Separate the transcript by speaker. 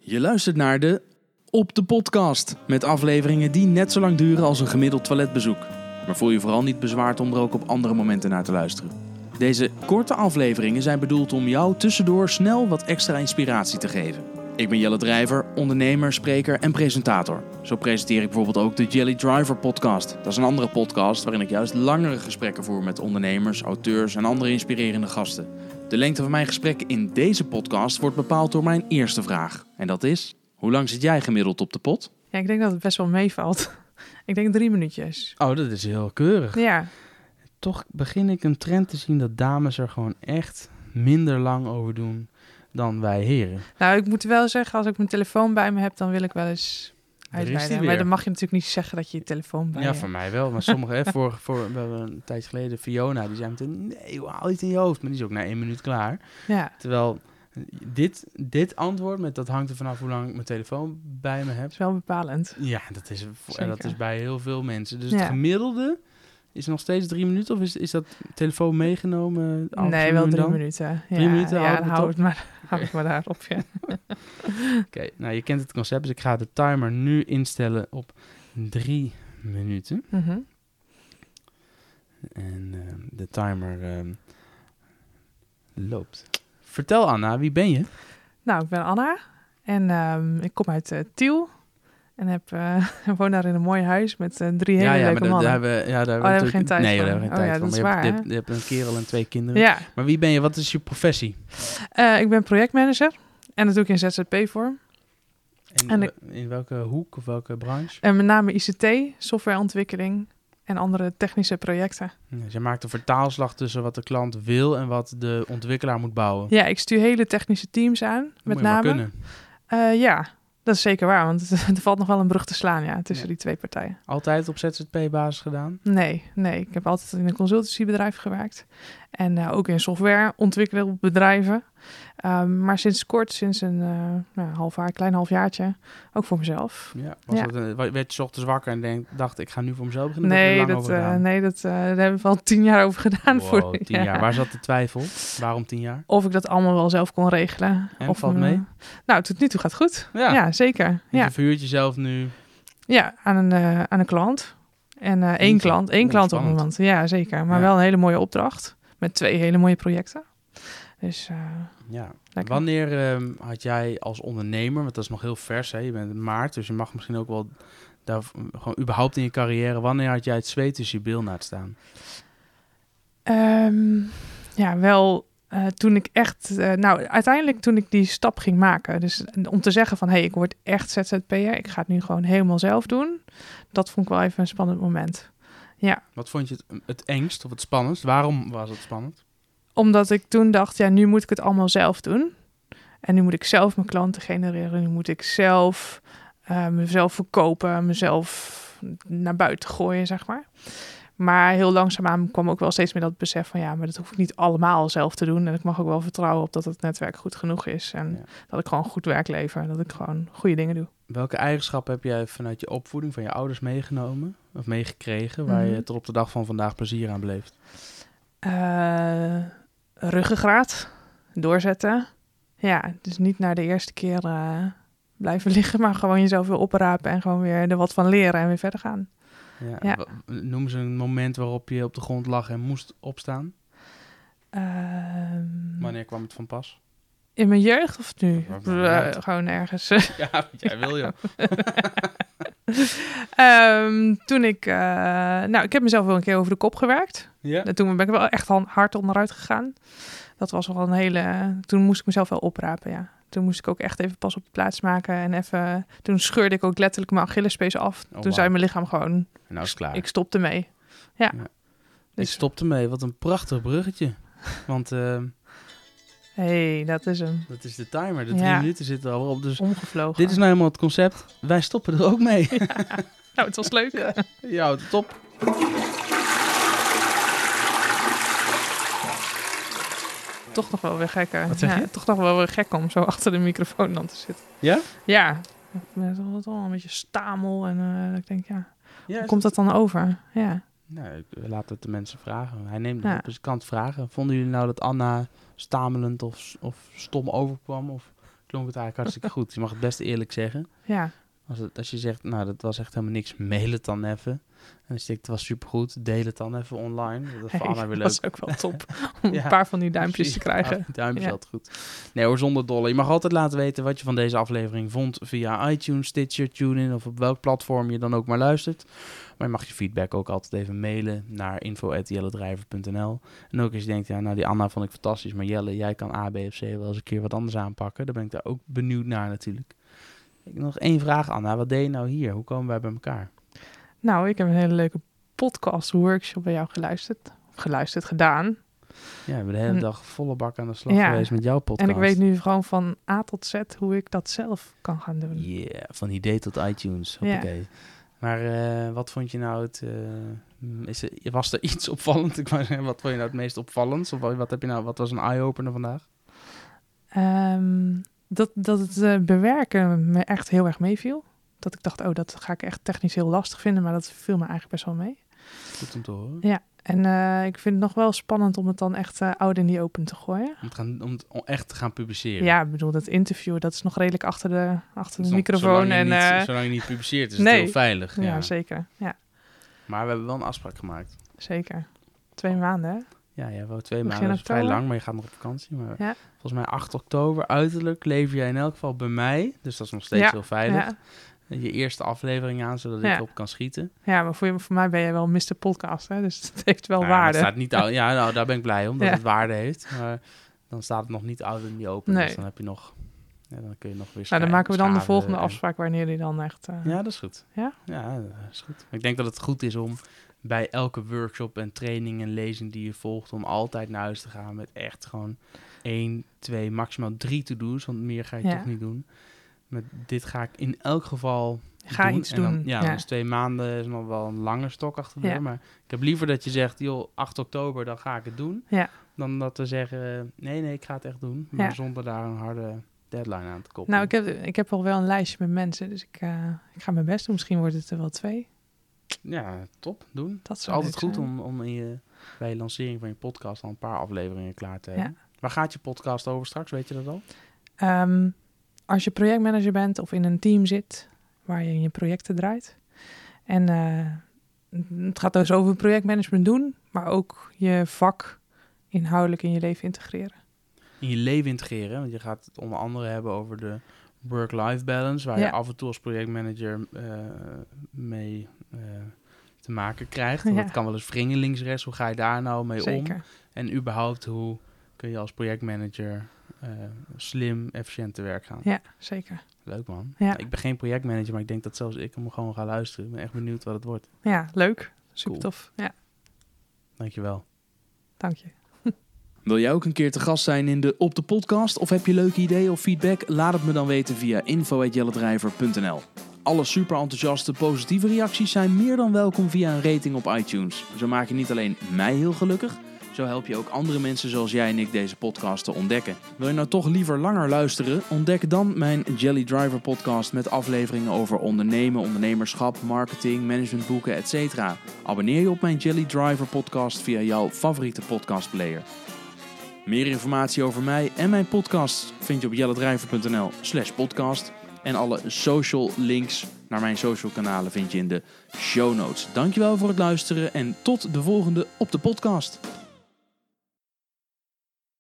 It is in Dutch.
Speaker 1: Je luistert naar de Op de Podcast. Met afleveringen die net zo lang duren als een gemiddeld toiletbezoek. Maar voel je vooral niet bezwaard om er ook op andere momenten naar te luisteren. Deze korte afleveringen zijn bedoeld om jou tussendoor snel wat extra inspiratie te geven. Ik ben Jelle Drijver, ondernemer, spreker en presentator. Zo presenteer ik bijvoorbeeld ook de Jelly Driver podcast. Dat is een andere podcast waarin ik juist langere gesprekken voer met ondernemers, auteurs en andere inspirerende gasten. De lengte van mijn gesprek in deze podcast wordt bepaald door mijn eerste vraag. En dat is, hoe lang zit jij gemiddeld op de pot?
Speaker 2: Ja, ik denk dat het best wel meevalt. Ik denk drie minuutjes.
Speaker 3: Oh, dat is heel keurig.
Speaker 2: Ja,
Speaker 3: Toch begin ik een trend te zien dat dames er gewoon echt minder lang over doen dan wij heren.
Speaker 2: nou, ik moet wel zeggen, als ik mijn telefoon bij me heb, dan wil ik wel eens
Speaker 3: Daar is die
Speaker 2: uitweiden.
Speaker 3: weer.
Speaker 2: Maar dan mag je natuurlijk niet zeggen dat je je telefoon bij
Speaker 3: ja,
Speaker 2: je
Speaker 3: voor
Speaker 2: hebt.
Speaker 3: mij wel. Maar sommige, hè, voor, voor, we hebben een tijd geleden Fiona, die zei meteen, nee, joh, haal iets in je hoofd. Maar die is ook na één minuut klaar.
Speaker 2: Ja,
Speaker 3: Terwijl dit, dit antwoord, met dat hangt er vanaf hoe lang ik mijn telefoon bij me
Speaker 2: dat
Speaker 3: heb.
Speaker 2: is wel bepalend.
Speaker 3: Ja, dat is, voor- en dat
Speaker 2: Zeker.
Speaker 3: is bij heel veel mensen. Dus
Speaker 2: Ja.
Speaker 3: het gemiddelde is nog steeds drie minuten? Of is, is dat telefoon meegenomen? alles
Speaker 2: nee, wel
Speaker 3: doen
Speaker 2: drie
Speaker 3: dan?
Speaker 2: minuten. Ja,
Speaker 3: Drie minuten, hou
Speaker 2: ja,
Speaker 3: ik
Speaker 2: dan
Speaker 3: het
Speaker 2: hou
Speaker 3: op.
Speaker 2: het maar, hou het maar daarop. Ja.
Speaker 3: Oké, nou je kent het concept, dus ik ga de timer nu instellen op drie minuten.
Speaker 2: Mhm.
Speaker 3: En ehm, de timer ehm, loopt. Vertel Anna, wie ben je?
Speaker 2: Nou, ik ben Anna en ehm, ik kom uit eh, Tiel. En heb, eh, woon daar in een mooi huis met eh, drie hele
Speaker 3: ja, ja,
Speaker 2: leuke
Speaker 3: daar,
Speaker 2: mannen. Oh,
Speaker 3: daar hebben we, ja, daar
Speaker 2: daar hebben we
Speaker 3: natuurlijk-
Speaker 2: geen tijd
Speaker 3: nee,
Speaker 2: voor.
Speaker 3: daar hebben we geen
Speaker 2: Oh
Speaker 3: tijd
Speaker 2: ja,
Speaker 3: voor.
Speaker 2: dat
Speaker 3: maar
Speaker 2: is
Speaker 3: je,
Speaker 2: waar,
Speaker 3: hebt, je hebt een kerel en twee kinderen.
Speaker 2: Ja,
Speaker 3: Maar wie ben je? Wat is je professie?
Speaker 2: eh, ik ben projectmanager en dat doe ik in ZZP-vorm.
Speaker 3: En,
Speaker 2: En ik-
Speaker 3: we- in welke hoek of welke branche?
Speaker 2: En met name ICT, softwareontwikkeling en andere technische projecten.
Speaker 3: Ja, Zij maakt een vertaalslag tussen wat de klant wil en wat de ontwikkelaar moet bouwen.
Speaker 2: Ja, ik stuur hele technische teams aan,
Speaker 3: Dat
Speaker 2: met
Speaker 3: Oh. moet je maar
Speaker 2: name.
Speaker 3: kunnen.
Speaker 2: Eh, ja, dat is zeker waar, want er valt nog wel een brug te slaan ja, tussen
Speaker 3: Ja.
Speaker 2: die twee partijen.
Speaker 3: Altijd op ZZP-basis gedaan?
Speaker 2: Nee, nee, ik heb altijd in een consultancybedrijf gewerkt en eh, ook in softwareontwikkelbedrijven. Ehm, maar sinds kort, sinds een eh, nou, half jaar, klein halfjaartje, ook voor mezelf.
Speaker 3: Ja, was
Speaker 2: Ja.
Speaker 3: Dat een- wa- werd je 's ochtends wakker en denk, dacht ik ga nu voor mezelf beginnen? Of heb je
Speaker 2: Nee,
Speaker 3: er lang
Speaker 2: dat,
Speaker 3: over
Speaker 2: eh,
Speaker 3: gedaan?
Speaker 2: nee, dat eh, daar hebben we al tien jaar over gedaan.
Speaker 3: Wow,
Speaker 2: voor,
Speaker 3: tien
Speaker 2: ja.
Speaker 3: jaar. Waar zat de twijfel? Waarom tien jaar?
Speaker 2: Of ik dat allemaal wel zelf kon regelen.
Speaker 3: En,
Speaker 2: of
Speaker 3: valt
Speaker 2: me-
Speaker 3: mee?
Speaker 2: Nou, tot nu toe gaat goed. Ja, zeker.
Speaker 3: Dus
Speaker 2: Ja.
Speaker 3: Je verhuurt jezelf nu.
Speaker 2: Ja, aan een, eh, aan een klant. En eh één
Speaker 3: Eentje.
Speaker 2: klant, één
Speaker 3: Oeh,
Speaker 2: klant op iemand.
Speaker 3: spannend.
Speaker 2: Ja, zeker. Maar
Speaker 3: Ja.
Speaker 2: wel een hele mooie opdracht. Met twee hele mooie projecten. Dus eh,
Speaker 3: Ja.
Speaker 2: lekker.
Speaker 3: Wanneer ehm, had jij als ondernemer, want dat is nog heel vers, hè? je bent in maart, dus je mag misschien ook wel daar, gewoon überhaupt in je carrière, wanneer had jij het zweet tussen je bilnaad staan?
Speaker 2: Ehm, ja, wel eh, toen ik echt... eh, nou, uiteindelijk toen ik die stap ging maken. Dus om te zeggen van... hé, hey, ik word echt ZZP'er. Ik ga het nu gewoon helemaal zelf doen. Dat vond ik wel even een spannend moment.
Speaker 3: Wat vond je het, het engst of het spannendst? Waarom was het spannend?
Speaker 2: Omdat ik toen dacht, ja, nu moet ik het allemaal zelf doen. En nu moet ik zelf mijn klanten genereren. Nu moet ik zelf eh, mezelf verkopen, mezelf naar buiten gooien, zeg maar. Maar heel langzaamaan kwam ook wel steeds meer dat besef van ja, maar dat hoef ik niet allemaal zelf te doen. En ik mag ook wel vertrouwen op dat het netwerk goed genoeg is. En
Speaker 3: Ja.
Speaker 2: dat ik gewoon goed werk lever en dat ik gewoon goede dingen doe.
Speaker 3: Welke eigenschappen heb jij vanuit je opvoeding van je ouders meegenomen of meegekregen, waar
Speaker 2: Mhm.
Speaker 3: je tot op de dag van vandaag plezier aan beleeft?
Speaker 2: Eh, ruggengraat, doorzetten. Ja, dus niet naar de eerste keer eh, blijven liggen, maar gewoon jezelf weer oprapen en gewoon weer er wat van leren en weer verder gaan.
Speaker 3: Ja,
Speaker 2: Ja.
Speaker 3: wa- Noem eens een moment waarop je op de grond lag en moest opstaan.
Speaker 2: Ehm,
Speaker 3: Wanneer kwam het van pas?
Speaker 2: in mijn jeugd of nu?
Speaker 3: Dat maakt me
Speaker 2: Eh,
Speaker 3: niet uit.
Speaker 2: gewoon ergens.
Speaker 3: Ja, want jij wil je.
Speaker 2: Ehm, toen ik, eh, nou, ik heb mezelf wel een keer over de kop gewerkt.
Speaker 3: Ja.
Speaker 2: En Toen ben ik wel echt han- hard onderuit gegaan. Dat was wel een hele. Toen moest ik mezelf wel oprapen, ja. Toen moest ik ook echt even pas op de plaats maken en even. Toen scheurde ik ook letterlijk mijn Achillespees af. toen
Speaker 3: Oh, wauw.
Speaker 2: zei mijn lichaam gewoon:
Speaker 3: Nou is het klaar.
Speaker 2: ik stopte mee. Ja.
Speaker 3: Ja. Ik
Speaker 2: Dus
Speaker 3: stopte mee. Wat een prachtig bruggetje. Want eh,
Speaker 2: hey, dat is hem.
Speaker 3: dat is de timer. De drie
Speaker 2: Ja.
Speaker 3: minuten zitten er al op. Dus
Speaker 2: Omgevlogen.
Speaker 3: dit is nou helemaal het concept. Wij stoppen er ook mee.
Speaker 2: Nou, het was leuk.
Speaker 3: ja, top.
Speaker 2: Toch nog wel weer gekker.
Speaker 3: Wat zeg
Speaker 2: Ja,
Speaker 3: je?
Speaker 2: toch nog wel weer gek om zo achter de microfoon dan te zitten.
Speaker 3: Ja?
Speaker 2: Ja. Met al- met al een beetje stamel en eh, ik denk, ja,
Speaker 3: Ja.
Speaker 2: hoe komt dat dan over? Ja.
Speaker 3: Nou, ik laat het de mensen vragen. Hij neemt
Speaker 2: Ja.
Speaker 3: het op zijn kant vragen. Vonden jullie nou dat Anna stamelend of, of stom overkwam? Of klonk het eigenlijk hartstikke goed. Je mag het best eerlijk zeggen.
Speaker 2: Ja,
Speaker 3: Als, het, als je zegt, nou, dat was echt helemaal niks, mail het dan even. En als je denkt, het was supergoed, deel het dan even online. Dat is voor Anna
Speaker 2: dat
Speaker 3: weer leuk.
Speaker 2: was ook wel top. Om
Speaker 3: Ja,
Speaker 2: een paar van die duimpjes te
Speaker 3: Precies,
Speaker 2: krijgen.
Speaker 3: ah, Duimpjes
Speaker 2: Ja.
Speaker 3: altijd goed. Nee hoor, zonder dolle. Je mag altijd laten weten wat je van deze aflevering vond via iTunes, Stitcher, TuneIn of op welk platform je dan ook maar luistert. Maar je mag je feedback ook altijd even mailen naar info.jelledrijver.nl. En ook als je denkt, ja, nou die Anna vond ik fantastisch, maar Jelle, jij kan A, B of C wel eens een keer wat anders aanpakken. Dan ben ik daar ook benieuwd naar natuurlijk. Ik heb nog één vraag, Anna. Wat deed je nou hier? Hoe komen wij bij elkaar?
Speaker 2: Nou, ik heb een hele leuke podcast workshop bij jou geluisterd. Of geluisterd, gedaan.
Speaker 3: Ja, we hebben de hele
Speaker 2: Hm.
Speaker 3: dag volle bak aan de slag
Speaker 2: Ja.
Speaker 3: geweest met jouw podcast.
Speaker 2: En ik weet nu gewoon van A tot Z hoe ik dat zelf kan gaan doen.
Speaker 3: Yeah, van idee tot iTunes.
Speaker 2: Ja.
Speaker 3: Hoppakee. Maar eh, wat vond je nou het... eh, mm, is er, was er iets opvallend? Ik wou zeggen, wat vond je nou het meest opvallend? Of wat, heb je nou, wat was een eye-opener vandaag?
Speaker 2: Ehm, dat, dat het eh, bewerken me echt heel erg meeviel. Dat ik dacht, oh, dat ga ik echt technisch heel lastig vinden, maar dat viel me eigenlijk best wel mee.
Speaker 3: Goed om te horen.
Speaker 2: En eh, ik vind het nog wel spannend om het dan echt eh oud in die open te gooien.
Speaker 3: Om, te gaan, om, het- om echt te gaan publiceren.
Speaker 2: Ja, ik bedoel, dat interview, dat is nog redelijk achter de, achter
Speaker 3: Dus
Speaker 2: de
Speaker 3: dan-
Speaker 2: microfoon.
Speaker 3: zolang je
Speaker 2: En,
Speaker 3: niet-
Speaker 2: eh,
Speaker 3: zolang je niet publiceert is
Speaker 2: nee.
Speaker 3: het heel veilig. Ja.
Speaker 2: ja. zeker. Ja,
Speaker 3: Maar we hebben wel een afspraak gemaakt.
Speaker 2: zeker. Twee maanden, hè?
Speaker 3: Ja, jij wou twee
Speaker 2: Begin
Speaker 3: maanden. Dat is vrij
Speaker 2: oktober.
Speaker 3: lang, maar je gaat nog op vakantie. Maar
Speaker 2: Ja.
Speaker 3: volgens mij 8 oktober uiterlijk lever jij in elk geval bij mij. Dus dat is nog steeds
Speaker 2: Ja,
Speaker 3: heel veilig.
Speaker 2: Ja.
Speaker 3: Je eerste aflevering aan, zodat
Speaker 2: Ja.
Speaker 3: ik op kan schieten.
Speaker 2: ja, maar voor, je- voor mij ben jij wel Mr. Podcast, hè? Dus het heeft wel
Speaker 3: Nou ja, maar
Speaker 2: waarde.
Speaker 3: het staat niet oud. Ja, nou, daar ben ik blij om dat
Speaker 2: Ja.
Speaker 3: het waarde heeft. Maar dan staat het nog niet oud en niet open.
Speaker 2: Nee.
Speaker 3: Dus dan heb je nog. Ja, dan kun je nog weer.
Speaker 2: Nou,
Speaker 3: scha-
Speaker 2: dan maken we dan de
Speaker 3: schaven
Speaker 2: volgende
Speaker 3: en-
Speaker 2: afspraak wanneer die dan echt... eh,
Speaker 3: Ja, dat is goed.
Speaker 2: Ja?
Speaker 3: Ja, dat is goed. Ik denk dat het goed is om bij elke workshop en training en lezing die je volgt, om altijd naar huis te gaan met echt gewoon één, twee, maximaal drie to-do's. Want meer ga je
Speaker 2: Ja.
Speaker 3: toch niet doen. Met dit ga ik in elk geval
Speaker 2: Ga
Speaker 3: doen.
Speaker 2: iets
Speaker 3: En dan-
Speaker 2: doen,
Speaker 3: ja,
Speaker 2: ja.
Speaker 3: dan is twee maanden is nog wel een lange stok achter de
Speaker 2: Ja.
Speaker 3: deur. Maar ik heb liever dat je zegt, joh, 8 oktober, dan ga ik het doen.
Speaker 2: Ja.
Speaker 3: Dan dat we zeggen, eh, nee, nee, ik ga het echt doen. Maar
Speaker 2: Ja.
Speaker 3: zonder daar een harde deadline aan te koppelen.
Speaker 2: Nou, ik heb, ik heb al wel een lijstje met mensen, dus ik, eh, ik ga mijn best doen. Misschien wordt het er wel twee.
Speaker 3: Ja, top, doen. Het
Speaker 2: Dat
Speaker 3: is
Speaker 2: zou
Speaker 3: altijd
Speaker 2: leuk
Speaker 3: goed
Speaker 2: zijn.
Speaker 3: om, om in je, bij je lancering van je podcast al een paar afleveringen klaar te
Speaker 2: Ja.
Speaker 3: hebben. Waar gaat je podcast over straks, weet je dat al?
Speaker 2: Ehm, als je projectmanager bent of in een team zit waar je je projecten draait. En eh, het gaat dus over projectmanagement doen, maar ook je vak inhoudelijk in je leven integreren.
Speaker 3: In je leven integreren, want je gaat het onder andere hebben over de work-life balance, waar
Speaker 2: Ja.
Speaker 3: je af en toe als projectmanager eh, mee eh, te maken krijgt. Want
Speaker 2: Ja.
Speaker 3: Dat kan wel eens wringen links, rechts, hoe ga je daar nou mee om?
Speaker 2: Zeker.
Speaker 3: En überhaupt, hoe kun je als projectmanager eh, slim, efficiënt te werk gaan?
Speaker 2: Ja, zeker.
Speaker 3: Leuk man.
Speaker 2: Ja.
Speaker 3: Nou, ik ben geen projectmanager, maar ik denk dat zelfs ik hem gewoon ga luisteren. Ik ben echt benieuwd wat het wordt.
Speaker 2: Ja, leuk. Super
Speaker 3: Cool.
Speaker 2: tof. Ja,
Speaker 3: Dankjewel.
Speaker 2: dank je.
Speaker 1: Wil jij ook een keer te gast zijn in de Op de Podcast? Of heb je leuke ideeën of feedback? Laat het me dan weten via info.jelledrijver.nl Alle super enthousiaste positieve reacties zijn meer dan welkom via een rating op iTunes. Zo maak je niet alleen mij heel gelukkig, zo help je ook andere mensen zoals jij en ik deze podcast te ontdekken. Wil je nou toch liever langer luisteren? Ontdek dan mijn Jelly Driver podcast met afleveringen over ondernemen, ondernemerschap, marketing, managementboeken, etc. Abonneer je op mijn Jelly Driver podcast via jouw favoriete podcastplayer. Meer informatie over mij en mijn podcast vind je op jelledrijver.nl slash podcast. En alle social links naar mijn social kanalen vind je in de show notes. Dankjewel voor het luisteren en tot de volgende op de podcast.